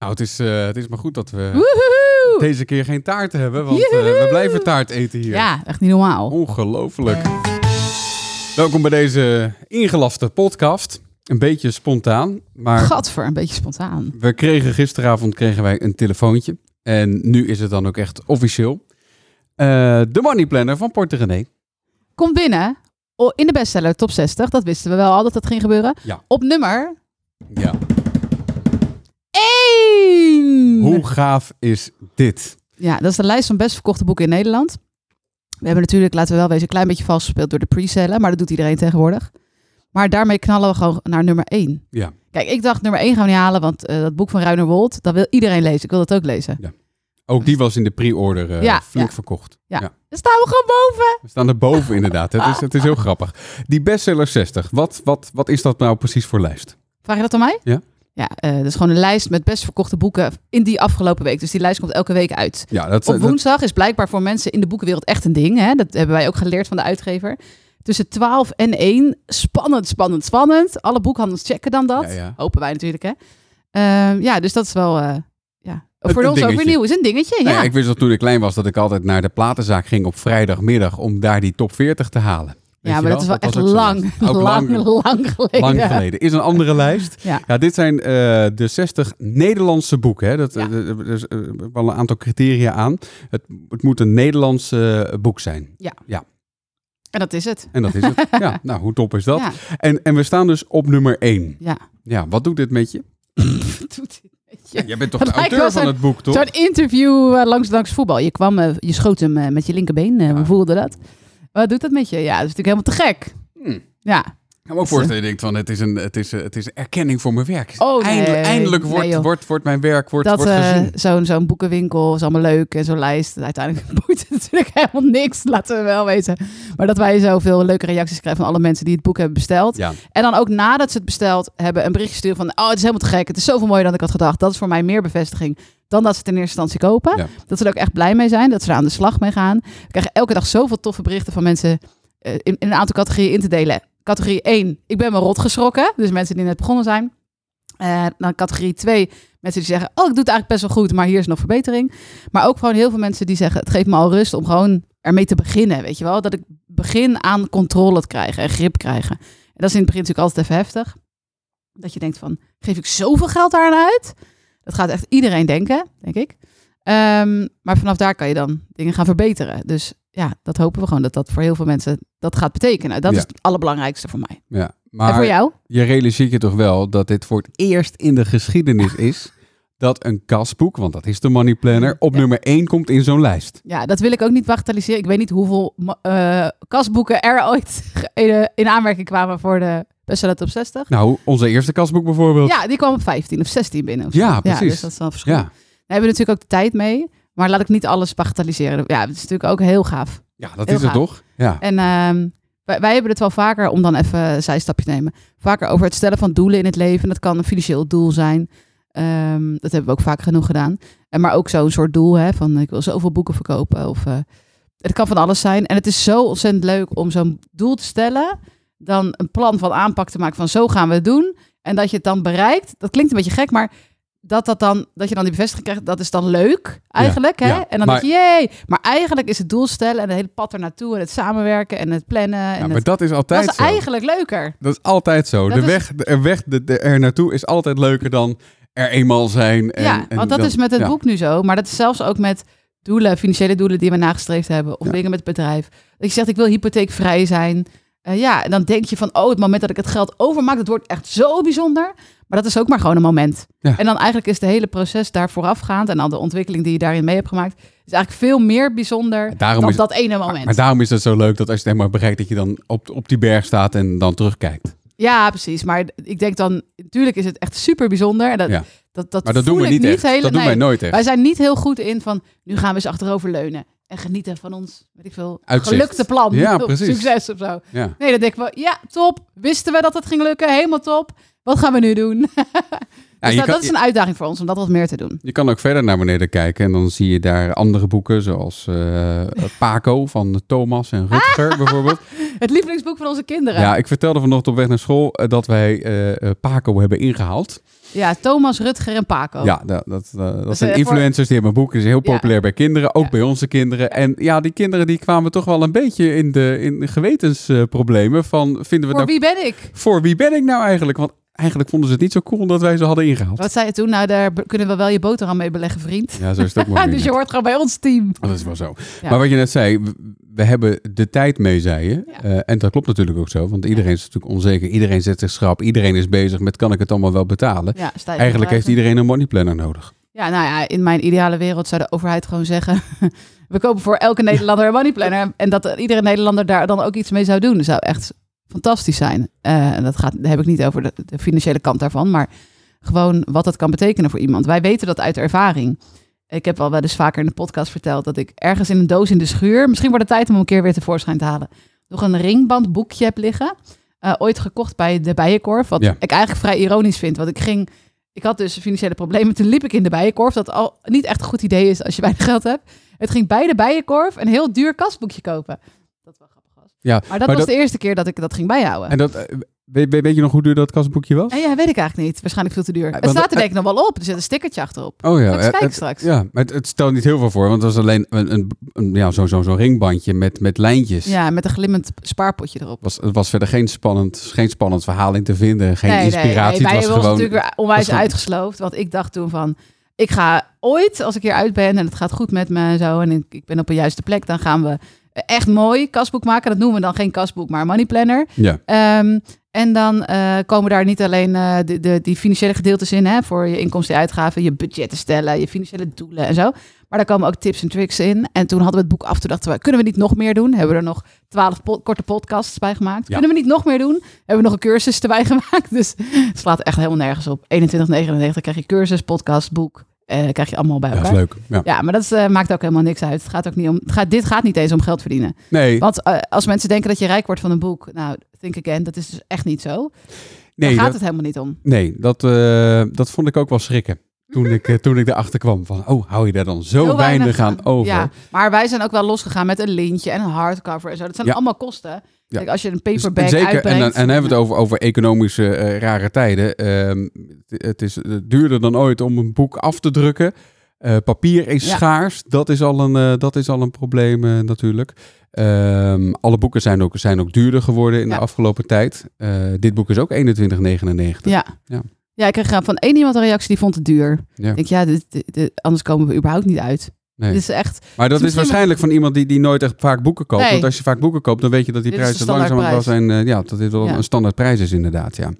Nou, het is, eh, het is maar goed dat we Woehoehoe! deze keer geen taart hebben, want eh, we Joehoe! blijven taart eten hier. Ja, echt niet normaal. Ongelooflijk. Welkom bij deze ingelaste podcast. Een beetje spontaan, maar Gadver, een beetje spontaan. we kregen gisteravond kregen wij een telefoontje. En nu is het dan ook echt officieel. Eh, de Money Planner van Porte René. Komt binnen o- in de bestseller top 60. Dat wisten we wel al dat dat ging gebeuren. Ja. Op nummer Ja. 1. Hoe gaaf is dit? Ja, dat is de lijst van best verkochte boeken in Nederland. We hebben natuurlijk, laten we wel wezen, een klein beetje vals gespeeld door de pre-sellen. Maar dat doet iedereen tegenwoordig. Maar daarmee knallen we gewoon naar nummer 1. Ja. Kijk, ik dacht nummer 1 gaan we niet halen, want eh, dat boek van Ruiner Wold, dat wil iedereen lezen. Ik wil dat ook lezen. Ook die was in de pre-order eh, Ja, flink ja. verkocht. Ja. Dan staan we gewoon boven. We staan erboven inderdaad. Het is, het is heel grappig. Die bestseller 60, wat, wat, wat is dat nou precies voor lijst? Vraag je dat aan mij? Ja. Ja, eh, dat is gewoon een lijst met best verkochte boeken in die afgelopen week. Dus die lijst komt elke week uit. Ja, dat, Op dat, woensdag is blijkbaar voor mensen in de boekenwereld echt een ding. Hè? Dat hebben wij ook geleerd van de uitgever. Tussen 12 en 1. Spannend, spannend, spannend. Alle boekhandels checken dan dat. Ja, ja. Hopen wij natuurlijk, hè. Ehm, ja, dus dat is wel... eh, ja. Een- Voor een ons ook weer dingetje. nieuw. Is een dingetje, ja. Nou ja, ik wist dat toen ik klein was dat ik altijd naar de platenzaak ging op vrijdagmiddag om daar die top 40 te halen. Weet ja, je maar dat is wel echt was ook zo'n lang, lijst. Ook lang, lang geleden. lang geleden. Is een andere lijst. Ja. dit zijn eh, de 60 Nederlandse boeken. Hè. Dat, Ja. eh, eh, er is eh, wel een aantal criteria aan. Het, het moet een Nederlands eh, boek zijn. En dat is het. En dat is het. ja, nou, hoe top is dat? Ja, En, en we staan dus op nummer 1. ja. Ja, wat doet dit met je? Wat doet dit met je? Jij bent toch Het de lijkt auteur wel van het boek, toch? Zo'n interview eh, langs, langs voetbal. Je kwam, eh, je schoot hem eh, met je linkerbeen. eh, Ja. We voelden dat. Wat doet dat met je? Ja, dat is natuurlijk helemaal te gek. Hm. Ja. Ik kan me ook Hm. voorstellen, je denkt van, het is, een, het is, het is erkenning voor mijn werk. Oh, nee. eindelijk eindelijk Nee, wordt, joh. wordt, wordt mijn werk wordt, dat wordt eh, gezien. zo'n zo'n boekenwinkel is allemaal leuk en zo'n lijst. Uiteindelijk boeit het natuurlijk helemaal niks, laten we wel weten. Maar dat wij zoveel leuke reacties krijgen van alle mensen die het boek hebben besteld. Ja, En dan ook nadat ze het besteld hebben, een berichtje sturen van... oh, het is helemaal te gek, het is zoveel mooier dan ik had gedacht. Dat is voor mij meer bevestiging dan dat ze het in eerste instantie kopen. Ja. Dat ze er ook echt blij mee zijn, dat ze er aan de slag mee gaan. We krijgen elke dag zoveel toffe berichten van mensen eh, in, in een aantal categorieën in te delen. Categorie 1, ik ben me rot geschrokken. Dus mensen die net begonnen zijn. Eh, dan categorie 2, mensen die zeggen... oh, ik doe het eigenlijk best wel goed, maar hier is nog verbetering. Maar ook gewoon heel veel mensen die zeggen... het geeft me al rust om gewoon ermee te beginnen, weet je wel. Dat ik begin aan controle te krijgen en grip krijgen. En dat is in het begin natuurlijk altijd even heftig. Dat je denkt van, geef ik zoveel geld daaraan uit? Dat gaat echt iedereen denken, denk ik. Ehm, maar vanaf daar kan je dan dingen gaan verbeteren. Dus ja, dat hopen we gewoon dat dat voor heel veel mensen dat gaat betekenen. Dat Ja. is het allerbelangrijkste voor mij. ja. en voor Maar jou? je realiseert je toch wel dat dit voor het eerst in de geschiedenis is dat een kasboek, want dat is de Money Planner, op Ja. nummer 1 komt in zo'n lijst. Ja, dat wil ik ook niet bagatelliseren. Ik weet niet hoeveel ma- eh, kasboeken er ooit ge- eh, in aanmerking kwamen voor de bestseller top 60. Nou, onze eerste kasboek bijvoorbeeld. Ja, die kwam op 15 of 16 binnen. of zo. Ja, precies. dus dat is wel een verschil. ja. Daar hebben we natuurlijk ook de tijd mee. Maar laat ik niet alles bagatelliseren. Ja, het is natuurlijk ook heel gaaf. Ja, dat Heel is het gaaf. toch? Ja. En ehm, wij, wij hebben het wel vaker, om dan even een zijstapje te nemen, vaker over het stellen van doelen in het leven. Dat kan een financieel doel zijn. Ehm, dat hebben we ook vaak genoeg gedaan. En maar ook zo'n soort doel hè, van ik wil zoveel boeken verkopen. Of, eh, het kan van alles zijn. En het is zo ontzettend leuk om zo'n doel te stellen. Dan een plan van aanpak te maken van zo gaan we het doen. En dat je het dan bereikt. Dat klinkt een beetje gek, maar dat, dat, dan, dat je dan die bevestiging krijgt, dat is dan leuk eigenlijk. hè? ja. En dan Maar- denk je, jee. Maar eigenlijk is het doel stellen en het hele pad ernaartoe en het samenwerken en het plannen. En ja, maar het- dat is altijd dat is zo. eigenlijk leuker. Dat is altijd zo. Dat de is- weg, de, er weg de, de- er naartoe is altijd leuker dan er eenmaal zijn. En, ja, en want dat dan- is met het ja. boek nu zo. Maar dat is zelfs ook met doelen, financiële doelen die we nagestreefd hebben. Of Ja. dingen met het bedrijf. Dat je zegt, ik wil hypotheekvrij zijn. Eh, ja, en dan denk je van, oh, het moment dat ik het geld overmaak, dat wordt echt zo bijzonder. Maar dat is ook maar gewoon een moment. Ja. En dan eigenlijk is het hele proces daar voorafgaand en dan de ontwikkeling die je daarin mee hebt gemaakt, is eigenlijk veel meer bijzonder Daarom dan is- dat ene moment. Maar daarom is het zo leuk dat als je het helemaal bereikt, dat je dan op, op die berg staat en dan terugkijkt. Ja, precies. Maar ik denk dan, natuurlijk is het echt super bijzonder. En dat, Ja. dat, dat, Maar dat voel doen we ik niet echt. hele- dat doen nee. wij nooit echt. Wij zijn niet heel goed in van nu gaan we eens achteroverleunen en genieten van ons, weet ik veel, Uitzicht. gelukte plan. Ja, Of precies. Succes of zo. Ja. Nee, dat denk ik wel. Ja, top. Wisten we dat het ging lukken. Helemaal top. Wat gaan we nu doen? Dus Ja, dat, Nou, je, kan, dat is een uitdaging voor ons om dat wat meer te doen. je, je kan ook verder naar beneden kijken en dan zie je daar andere boeken zoals eh, Paco van Thomas en Rutger bijvoorbeeld. Het lievelingsboek van onze kinderen. Ja, ik vertelde vanochtend op weg naar school eh, dat wij eh, eh, Paco hebben ingehaald. Ja, Thomas, Rutger en Paco. Ja, dat, dat, eh, dat Oh. Dus, zijn eh, voor- influencers die hebben boeken. is heel Ja. populair bij kinderen, ook Ja. bij onze kinderen. En ja, die kinderen die kwamen toch wel een beetje in de in gewetensproblemen. Van vinden we Voor nou wie ben ik? voor wie ben ik nou eigenlijk? Want eigenlijk vonden ze het niet zo cool dat wij ze hadden ingehaald. Wat zei je toen? Nou, daar be- kunnen we wel je boterham mee beleggen, vriend. Ja, zo is het ook Ja, maar. dus je hoort gewoon bij ons team. Dat is wel zo. Ja. Maar wat je net zei, w- we hebben de tijd mee, zei je. Ja. Eh, en dat klopt natuurlijk ook zo, want iedereen is natuurlijk onzeker. Iedereen zet zich schrap. Iedereen is bezig met kan ik het allemaal wel betalen. Ja, sta Eigenlijk je te heeft luisteren. iedereen een money planner nodig. Ja, nou ja, in mijn ideale wereld zou de overheid gewoon zeggen... we kopen voor elke Nederlander een moneyplanner. En dat iedere Nederlander daar dan ook iets mee zou doen. zou echt fantastisch zijn. Eh, en dat gaat, daar heb ik niet over de, de financiële kant daarvan. Maar gewoon wat dat kan betekenen voor iemand. Wij weten dat uit ervaring. Ik heb al wel eens vaker in de podcast verteld... dat ik ergens in een doos in de schuur... misschien wordt het tijd om hem een keer weer tevoorschijn te halen... nog een ringbandboekje heb liggen. Eh, ooit gekocht bij de Bijenkorf. Wat Ja. ik eigenlijk vrij ironisch vind. Want ik ging... Ik had dus financiële problemen. Toen liep ik in de bijenkorf. Dat al niet echt een goed idee is als je weinig geld hebt. Het ging bij de bijenkorf een heel duur kastboekje kopen. Dat wel grappig was. Ja, maar dat maar was dat- de eerste keer dat ik dat ging bijhouden. En dat, eh, weet, weet- weet je nog hoe duur dat kastboekje was? En ja, weet ik eigenlijk niet. Waarschijnlijk veel te duur. het want- staat er denk ik nog wel op. Er zit een stickertje achterop. Oh ja, Dat eh, kijk het- straks. Ja, maar het, het stelt niet heel veel voor, want het was alleen een, een, een- ja, zo'n zo, zo'n ringbandje met, met lijntjes. Ja, met een glimmend spaarpotje erop. Was, het was verder geen spannend, geen spannend verhaal in te vinden, geen Nee, nee, inspiratie. Nee, het was wij hebben ons gewoon. natuurlijk weer onwijs was gewoon- uitgesloofd. Want ik dacht toen van, ik ga ooit, als ik hier uit ben en het gaat goed met me en zo... en ik, ik ben op de juiste plek, dan gaan we echt mooi kastboek maken. Dat noemen we dan geen kastboek, maar money planner. Ja, Ehm, en dan eh, komen daar niet alleen eh, de, de, die financiële gedeeltes in, hè, voor je inkomsten en uitgaven, je budgetten stellen, je financiële doelen en zo. Maar daar komen ook tips en tricks in. En toen hadden we het boek af, toen dachten we, kunnen we niet nog meer doen? Hebben we er nog twaalf korte podcasts bij gemaakt? Ja. Kunnen we niet nog meer doen? Hebben we nog een cursus erbij gemaakt? Dus het slaat echt helemaal nergens op. 21,99 krijg je cursus, podcast, boek, eh, krijg je allemaal bij ja, dat elkaar. is leuk. Ja. Ja, maar dat is, eh, maakt ook helemaal niks uit. Het gaat ook niet om, het gaat, dit gaat niet eens om geld verdienen. Nee, Want eh, als mensen denken dat je rijk wordt van een boek, nou, think again, dat is dus echt niet zo. Daar nee, gaat dat, het helemaal niet om. nee dat, eh, dat vond ik ook wel schrikken. Toen ik, eh, toen ik erachter kwam van, oh, hou je daar dan zo Heel weinig, aan over? Ja, maar wij zijn ook wel losgegaan met een lintje en een hardcover en zo. Dat zijn Ja. allemaal kosten. Ja. Kijk, als je een Dus- paperback en zeker, en, uitbrengt. dan, en dan hebben we het over, over economische eh, rare tijden. Ehm, het- het is eh, duurder dan ooit om een boek af te drukken. Eh, papier is Ja. schaars, dat is al een, eh, dat is al een probleem eh, natuurlijk. Ehm, alle boeken zijn ook, zijn ook duurder geworden in Ja. de afgelopen tijd. Eh, dit boek is ook 21,99. Ja. Ja. Ja. ik kreeg eh, van één iemand een reactie die vond het duur. Ja. Ik denk, ja, dit, dit- dit- anders komen we überhaupt niet uit. Nee. Dit is echt, Maar dat is misschien- waarschijnlijk van iemand die, die nooit echt vaak boeken koopt. Nee. Want als je vaak boeken koopt, dan weet je dat die Dit is de prijzen langzamer wel zijn. eh, ja, dat dit wel Ja. een standaardprijs is inderdaad. Ja.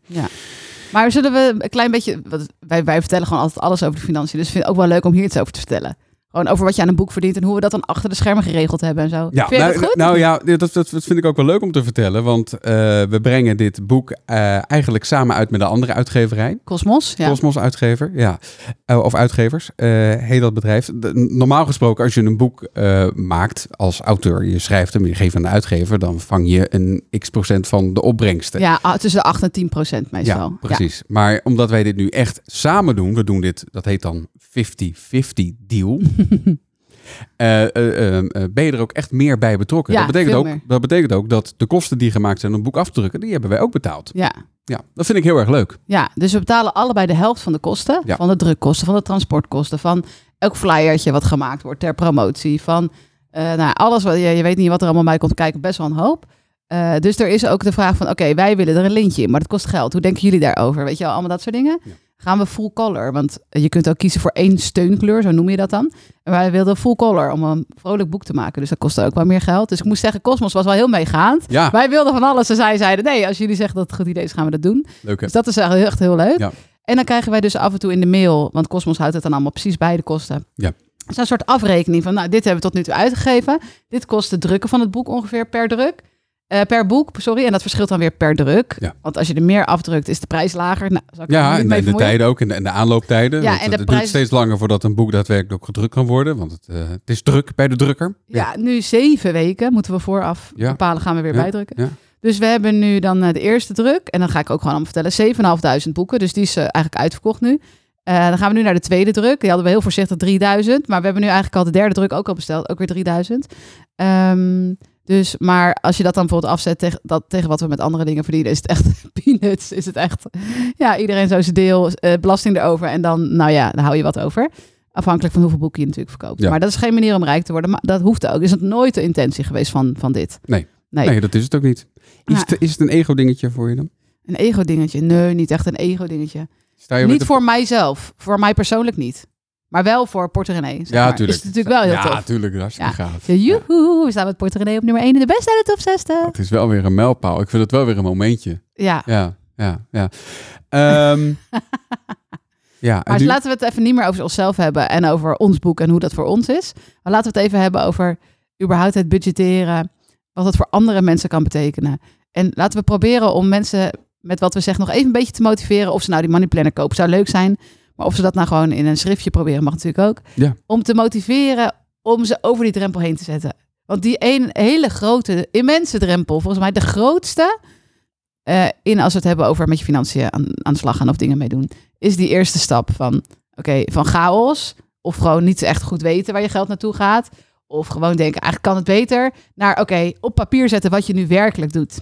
maar zullen we een klein beetje, wat, wij, wij vertellen gewoon altijd alles over de financiën. Dus ik vind het ook wel leuk om hier iets over te vertellen. Gewoon over wat je aan een boek verdient en hoe we dat dan achter de schermen geregeld hebben en zo. Ja, vind je nou, dat goed? nou ja, dit- dat, dat, dat vind ik ook wel leuk om te vertellen. Want eh, we brengen dit boek eh, eigenlijk samen uit met een andere uitgeverij. Cosmos, ja. Cosmos uitgever, ja. Eh, of uitgevers, eh, heet dat bedrijf. De- normaal gesproken, als je een boek eh, maakt als auteur, je schrijft hem, je geeft hem aan de uitgever, dan vang je een x procent van de opbrengsten. Ja, ah, tussen de 8 en 10 procent meestal. Ja, precies. Maar omdat wij dit nu echt samen doen, we doen dit, dat heet dan 50-50 deal. Eh, eh, eh, eh, ben je er ook echt meer bij betrokken? Ja, dat, betekent veel ook, meer. dat betekent ook dat de kosten die gemaakt zijn om het boek af te drukken, die hebben wij ook betaald. Ja. Ja. Ja, dat vind ik heel erg leuk. Ja, dus we betalen allebei de helft van de kosten. Ja. Van de drukkosten, van de transportkosten, van elk flyertje wat gemaakt wordt ter promotie. Van eh, nou, ja, alles wat je, je weet niet wat er allemaal bij komt kijken, best wel een hoop. Eh, dus er is ook de vraag van, oké, wij willen er een lintje in, maar dat kost geld. Hoe denken jullie daarover? Weet je wel, allemaal dat soort dingen. Ja. Gaan we full color? Want je kunt ook kiezen voor één steunkleur, zo noem je dat dan. En wij wilden full color om een vrolijk boek te maken. Dus dat kostte ook wel meer geld. Dus ik moest zeggen, Cosmos was wel heel meegaand. Ja, Wij wilden van alles en zij zeiden, nee, als jullie zeggen dat het een goed idee is, gaan we dat doen. leuk hè? Dus dat is echt heel, echt heel leuk. Ja. En dan krijgen wij dus af en toe in de mail, want Cosmos houdt het dan allemaal precies bij de kosten. Ja. Het is een soort afrekening van, nou, dit hebben we tot nu toe uitgegeven. Dit kost het drukken van het boek ongeveer per druk. eh, per boek, sorry. En dat verschilt dan weer per druk. Ja. Want als je er meer afdrukt, is de prijs lager. Nou, zal ik er Ja, niet en, mee en de vermoeien. tijden ook, en de, en de aanlooptijden. Ja, want en het de het duurt prijs- steeds langer voordat een boek daadwerkelijk ook gedrukt kan worden, want het, eh, het is druk bij de drukker. Ja, nu zeven weken moeten we vooraf Ja. bepalen, gaan we weer Ja, bijdrukken. ja. Dus we hebben nu dan eh, de eerste druk. En dan ga ik ook gewoon allemaal vertellen. 7.500 boeken, dus die is eh, eigenlijk uitverkocht nu. Eh, dan gaan we nu naar de tweede druk. Die hadden we heel voorzichtig 3000. Maar we hebben nu eigenlijk al de derde druk ook al besteld. Ook weer 3000. Ehm, Dus, maar als je dat dan bijvoorbeeld afzet tegen, dat, tegen wat we met andere dingen verdienen, is het echt peanuts. Is het echt, ja, iedereen zo zijn deel, eh, belasting erover. En dan, nou ja, dan hou je wat over. Afhankelijk van hoeveel boeken je natuurlijk verkoopt. Ja. Maar dat is geen manier om rijk te worden. Maar dat hoeft ook. Is het nooit de intentie geweest van, van dit? Nee. Nee. Nou. Nee, dat is het ook niet. Is, Ja. het, is het een ego-dingetje voor je dan? Een ego-dingetje? Nee, niet echt een ego-dingetje. Sta je met Niet de- voor mijzelf. Voor mij persoonlijk niet. Maar wel voor Porto René. zeg Ja, maar. tuurlijk. Is het natuurlijk wel heel ja, tof. tuurlijk. Hartstikke gaaf. Ja, Joehoe, we staan met Porto René op nummer 1 in de beste uit de top 60. Het is wel weer een mijlpaal. Ik vind het wel weer een momentje. Ja, Ja, ja, ja. Ehm, ja, en maar nu- laten we het even niet meer over onszelf hebben en over ons boek en hoe dat voor ons is. Maar laten we het even hebben over überhaupt het budgetteren. Wat het voor andere mensen kan betekenen. En laten we proberen om mensen met wat we zeggen nog even een beetje te motiveren. Of ze nou die money planner kopen, zou leuk zijn. Maar of ze dat nou gewoon in een schriftje proberen, mag natuurlijk ook. Ja. Om te motiveren om ze over die drempel heen te zetten. Want die een hele grote, immense drempel, volgens mij de grootste eh, in als we het hebben over met je financiën aan, aan de slag gaan of dingen mee doen, is die eerste stap van, oké, van chaos of gewoon niet echt goed weten waar je geld naartoe gaat. Of gewoon denken, eigenlijk kan het beter. Naar oké, op papier zetten wat je nu werkelijk doet.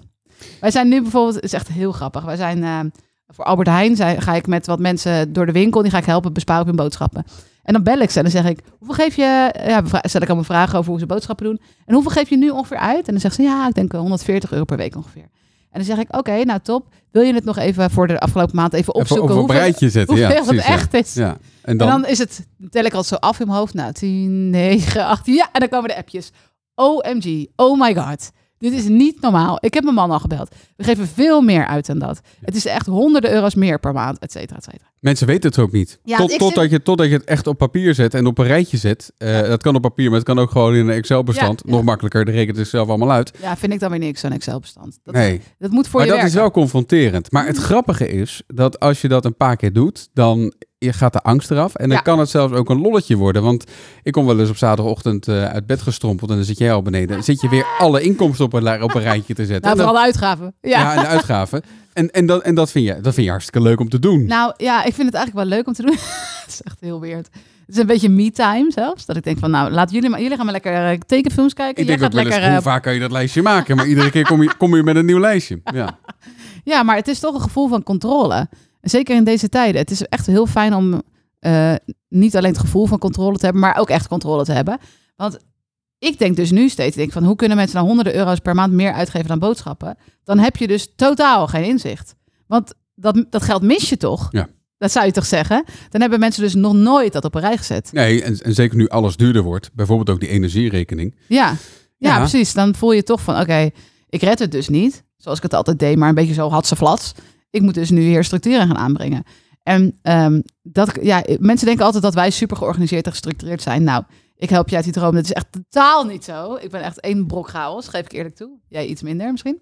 Wij zijn nu bijvoorbeeld, het is echt heel grappig. Wij zijn eh, voor Albert Heijn zijn, ga ik met wat mensen door de winkel. Die ga ik helpen besparen op hun boodschappen. En dan bel ik ze en dan zeg ik, hoeveel geef je... Ja, vra- stel ik allemaal vragen over hoe ze boodschappen doen. En hoeveel geef je nu ongeveer uit? En dan zegt ze, ja, ik denk eh, 140 euro per week ongeveer. En dan zeg ik, oké, nou top. Wil je het nog even voor de afgelopen maand even even opzoeken? over een hoeveel- rijtje zetten. hoeveel Ja, het precies, ja. echt is. Ja. En En dan, dan is het, tel ik altijd zo af in mijn hoofd. Nou, 10, 9, 18. Ja, en dan komen de appjes. OMG, oh my god. Dit is niet normaal. Ik heb mijn man al gebeld. We geven veel meer uit dan dat. Het is echt honderden euro's meer per maand, et cetera, et cetera. mensen weten het ook niet. Ja, Tot, ik totdat, je, totdat je het echt op papier zet en op een rijtje zet. Eh, Dat kan op papier, maar het kan ook gewoon in een Excel-bestand. Ja, ja. Nog makkelijker, de rekent het zelf allemaal uit. Ja, vind ik dan weer niks, zo'n Excel-bestand. Dat, nee. dat moet voor Maar je dat werken. Mm. is wel confronterend. Maar het grappige is dat als je dat een paar keer doet, dan je gaat de angst eraf. En dan Ja. kan het zelfs ook een lolletje worden. Want ik kom wel eens op zaterdagochtend eh, uit bed gestrompeld en dan zit jij al beneden. Dan zit je weer alle inkomsten op een, la- op een rijtje te zetten. Nou, en dan- vooral de uitgaven. Ja. ja, en de uitgaven. En, en, dat, en dat, vind je, dat vind je hartstikke leuk om te doen. Nou ja, ik vind het eigenlijk wel leuk om te doen. Het is echt heel weird. Het is een beetje me-time zelfs. Dat ik denk van, nou, laat jullie, maar, jullie gaan maar lekker eh, tekenfilms kijken. ik Jij denk ook gaat wel eens, lekker hoe eh, vaak kan je dat lijstje maken? Maar iedere keer kom je, kom je met een nieuw lijstje. Ja. Ja, maar het is toch een gevoel van controle. Zeker in deze tijden. Het is echt heel fijn om eh, niet alleen het gevoel van controle te hebben, maar ook echt controle te hebben. Want ik denk dus nu steeds, ik denk van hoe kunnen mensen nou honderden euro's per maand meer uitgeven dan boodschappen? Dan heb je dus totaal geen inzicht. Want dat, dat geld mis je toch? Ja. Dat zou je toch zeggen? Dan hebben mensen dus nog nooit dat op een rij gezet. Nee, en, en zeker nu alles duurder wordt. Bijvoorbeeld ook die energierekening. Ja, ja, Ja. precies. Dan voel je toch van, oké, ik red het dus niet. Zoals ik het altijd deed, maar een beetje zo had ze flats. Ik moet dus nu weer structuur in gaan aanbrengen. En ehm, dat, ja, mensen denken altijd dat wij super georganiseerd en gestructureerd zijn. Nou, ik help je uit die droom. Dat is echt totaal niet zo. Ik ben echt één brok chaos, geef ik eerlijk toe. Jij iets minder misschien.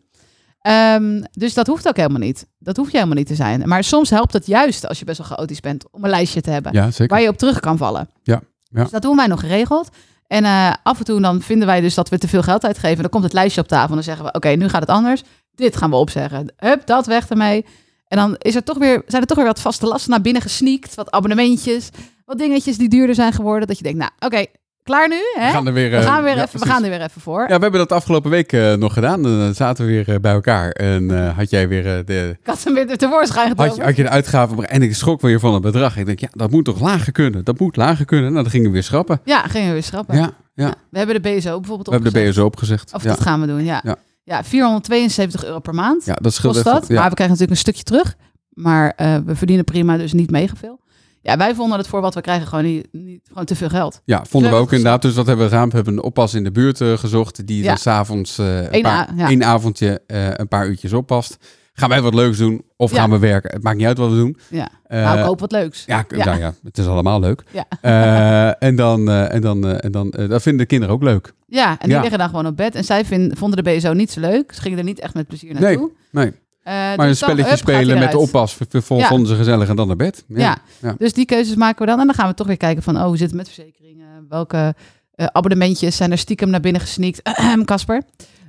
Ehm, dus dat hoeft ook helemaal niet. Dat hoef je helemaal niet te zijn. Maar soms helpt het juist als je best wel chaotisch bent om een lijstje te hebben Ja, zeker. waar je op terug kan vallen. Ja, ja. Dus dat doen wij nog geregeld. En eh, af en toe dan vinden wij dus dat we te veel geld uitgeven. Dan komt het lijstje op tafel en dan zeggen we... oké, nu gaat het anders. Dit gaan we opzeggen. Hup, dat weg ermee. En dan is er toch weer, zijn er toch weer wat vaste lasten naar binnen gesneakt. Wat abonnementjes, wat dingetjes die duurder zijn geworden. Dat je denkt, nou oké, klaar nu. Hè? We gaan er weer, We eh, gaan, ja, weer even, we precies. gaan er weer even voor. Ja, we hebben dat de afgelopen week eh, nog gedaan. En Dan zaten we weer eh, bij elkaar. En eh, had jij weer eh, de. Ik had hem weer tevoorschijn Had je, getoverd. had je de uitgaven. En ik schrok weer van het bedrag. Ik denk, ja, dat moet toch lager kunnen? Dat moet lager kunnen. Nou, dan gingen we weer schrappen. Ja, gingen we weer schrappen. Ja, ja. We hebben de BSO bijvoorbeeld We hebben de opgezegd. BSO opgezegd. Of ja. dat gaan we doen, ja. Ja. Ja, 472 euro per maand. ja, dat scheelt kost echt dat. wel. Maar Ja. we krijgen natuurlijk een stukje terug. Maar eh, we verdienen prima, dus niet mega veel. Ja, wij vonden het voor wat we krijgen gewoon, niet, niet, gewoon te veel geld. ja, vonden we we ook inderdaad. Dus dat hebben we gedaan. We hebben een oppas in de buurt eh, gezocht. Die Ja. dan s'avonds eh een Eén paar- a- ja. één avondje eh, een paar uurtjes oppast. Gaan wij wat leuks doen? Of Ja. gaan we werken? Het maakt niet uit wat we doen. Ja. Eh, nou, ik hoop wat leuks. Ja, k- Ja. nou ja, het is allemaal leuk. Ja. Eh, en dan, eh, en dan, eh, en dan eh, dat vinden de kinderen ook leuk. Ja, en die Ja. liggen dan gewoon op bed. En zij vin- vonden de BSO niet zo leuk. Ze gingen er niet echt met plezier Nee, naartoe. nee. Eh, Maar een dus dan, spelletje hup, gaat hij spelen met eruit. de oppas, v- v- vol Ja. vonden ze gezellig en dan naar bed. Ja. Dus die keuzes maken we dan. En dan gaan we toch weer kijken van, oh, hoe zit het met verzekeringen? Welke eh, abonnementjes zijn er stiekem naar binnen gesneakt. Ahem, Casper.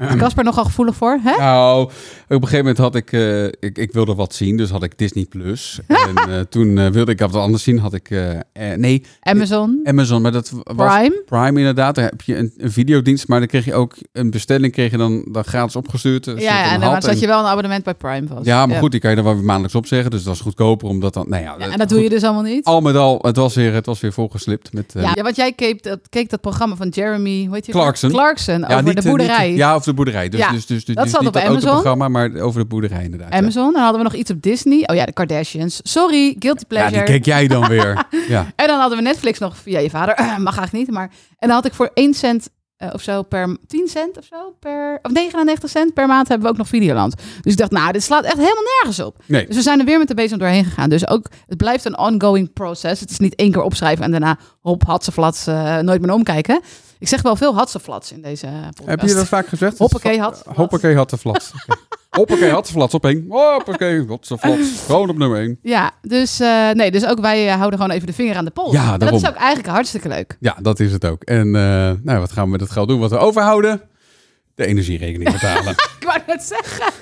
Is Casper nogal gevoelig voor, hè? Nou, op een gegeven moment had ik, eh, ik, ik wilde wat zien, dus had ik Disney Plus. En eh, toen eh, wilde ik wat anders zien, had ik, eh, eh, nee, Amazon, Amazon, maar dat was Prime. Prime inderdaad. Daar heb je een, een videodienst, maar dan kreeg je ook een bestelling, kreeg je dan, dan gratis opgestuurd. eh, als je dat Ja, en dan had. zat je wel een abonnement bij Prime vast. ja, maar goed, die kan je dan wel weer maandelijks opzeggen, dus dat is goedkoper, omdat dan, nou ja. Ja, en dat doe je dus allemaal niet? Al met al, het was weer, het was weer volgeslipt met... eh, Ja, want jij keek dat, keek dat programma van Jeremy hoe heet die Clarkson. Clarkson over niet, eh, de niet- boerderij. ja, over de boerderij. Dus, Ja, dus, dus, dus, dat dus zat niet op dat Amazon. autoprogramma, maar over de boerderij inderdaad. ja. Amazon. Dan hadden we nog iets op Disney. Oh ja, de Kardashians. Sorry, guilty Ja, pleasure. die keek jij dan weer. ja. En dan hadden we Netflix nog via je vader. mag eigenlijk niet, maar... En dan had ik voor 1 cent eh, of zo per... 10 cent of zo per... Of 99 cent per maand hebben we ook nog Videoland. Dus ik dacht, nou, dit slaat echt helemaal nergens op. Nee. Dus we zijn er weer met de bezem doorheen gegaan. Dus ook, het blijft een ongoing process. Het is niet één keer opschrijven en daarna hop, hatseflats, eh nooit meer omkijken. Ik zeg wel veel hatseflats in deze eh, podcast. Heb je dat vaak gezegd? Hoppakee, Dat is- had- Hoppakee, had de flats. Hoppakee, had de flats op één. Hoppakee, had de flats. Gewoon op nummer één. Ja, dus, eh, nee, dus ook wij eh, houden gewoon even de vinger aan de pols. Ja, En dat daarom. is ook eigenlijk hartstikke leuk. Ja, dat is het ook. En eh, nou, wat gaan we met het geld doen? Wat we overhouden? De energierekening betalen. Ik wou net zeggen.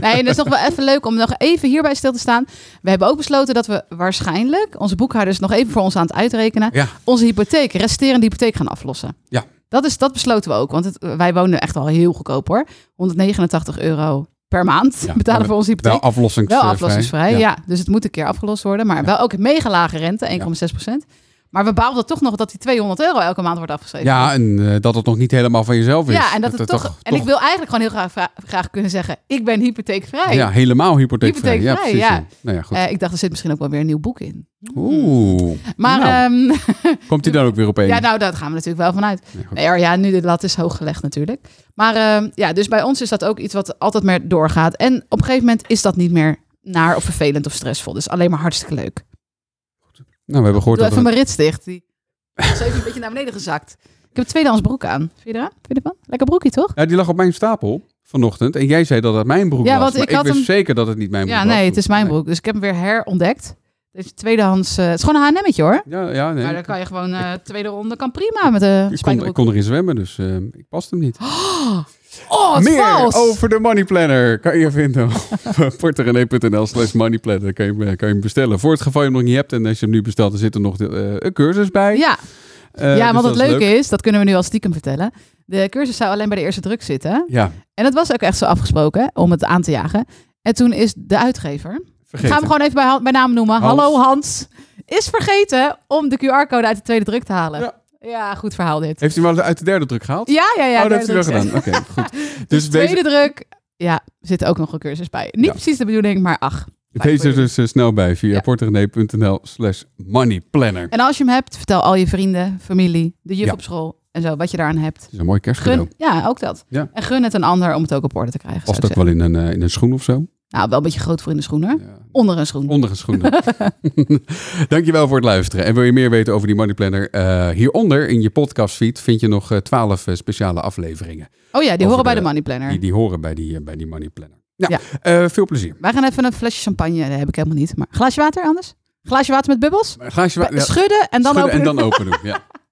Nee, dat is nog wel even leuk om nog even hierbij stil te staan. We hebben ook besloten dat we waarschijnlijk, onze boekhouders nog even voor ons aan het uitrekenen, ja, onze hypotheek, resterende hypotheek gaan aflossen. Ja. Dat, is, dat besloten we ook, want het, wij wonen echt wel heel goedkoop hoor. 189 euro per maand Ja, betalen maar we voor onze hypotheek. wel aflossingsvrij. Wel aflossingsvrij, ja. Ja. Dus het moet een keer afgelost worden. Maar Ja. wel ook een mega lage rente, 1,6 procent. Maar we baalden toch nog dat die 200 euro elke maand wordt afgeschreven. Ja, en eh, dat het nog niet helemaal van jezelf is. Ja, en dat het toch, En ik wil eigenlijk gewoon heel graag, vra- graag kunnen zeggen... ik ben hypotheekvrij. Ja, helemaal hypotheekvrij. Hypotheekvrij, ja, ja. precies. Ja. Nou ja, goed. Eh, ik dacht, er zit misschien ook wel weer een nieuw boek in. Oeh. Maar Nou, ehm, komt hij dan ook weer op één? ja, nou, daar gaan we natuurlijk wel vanuit. Nee, goed. Nee, hoor, ja, nu de lat is hoog gelegd natuurlijk. Maar ehm, ja, dus bij ons is dat ook iets wat altijd meer doorgaat. En op een gegeven moment is dat niet meer naar of vervelend of stressvol. Dus alleen maar hartstikke leuk. Nou, we hebben gehoord Doe dat even het- mijn rits dicht. Die is even een beetje naar beneden gezakt. Ik heb een tweedehands broek aan. Vind je eraan? Vind je ervan? Lekker broekje, toch? Ja, Eh, die lag op mijn stapel vanochtend. En jij zei dat het mijn broek Ja, was. want maar ik had wist hem- zeker dat het niet mijn broek Ja, was. nee, het is mijn Nee. broek. Dus ik heb hem weer herontdekt. Deze tweedehands... eh, het is gewoon een H&M'tje, hoor. Ja, ja nee. Maar dan kan je gewoon... eh, tweede ronde kan prima met de ik, kon, ik spijkerbroek. kon erin zwemmen, dus eh, ik past hem niet. Oh, het is Meer vals! over de Money Planner kan je vinden op eh, porterenee.nl slash moneyplanner. Kan je, hem, eh, kan je hem bestellen. Voor het geval je hem nog niet hebt en als je hem nu bestelt, dan zit er nog de, eh, een cursus bij. Ja, Eh, ja dus want dat het is leuke leuk. is, dat kunnen we nu al stiekem vertellen. De cursus zou alleen bij de eerste druk zitten. Ja, En dat was ook echt zo afgesproken, om het aan te jagen. En toen is de uitgever, ik vergeet ga hem het. gewoon even bij, Han- bij naam noemen. Hans. Hallo Hans, is vergeten om de QR-code uit de tweede druk te halen. Ja. Ja, goed verhaal dit. Heeft hij hem wel uit de derde druk gehaald? Ja, ja, ja. oh, dat heeft derde hij wel druk. gedaan. Oké, goed. Dus Dus wees, tweede druk, ja, zit ook nog een cursus bij. Niet Ja. precies de bedoeling, maar ach. wees er dus eh, snel bij via Ja. porterenee.nl slash moneyplanner. En als je hem hebt, vertel al je vrienden, familie, de juf Ja. op school en zo, wat je daaraan hebt. Het is een mooi kerstcadeau. Gun, ja, ook dat. Ja. En gun het een ander om het ook op orde te krijgen. zou Past ik ook wel in een, eh, in een schoen of zo. zeggen. Nou, wel een beetje groot voor in de schoenen. Ja. Onder een schoen. Onder een schoen. Dankjewel voor het luisteren. En wil je meer weten over die Money Planner? eh, hieronder in je podcastfeed vind je nog eh, twaalf speciale afleveringen. Oh ja, die Over horen bij de- de money planner. eh, Die, die horen bij die, eh, bij die Money Planner. Nou, Ja. eh, veel plezier. Wij gaan even een flesje champagne. Dat heb ik helemaal niet. Maar glaasje water anders? Glaasje water met bubbels? Glaasje wa- Schudden en dan schudden open. en dan open doen. Ja.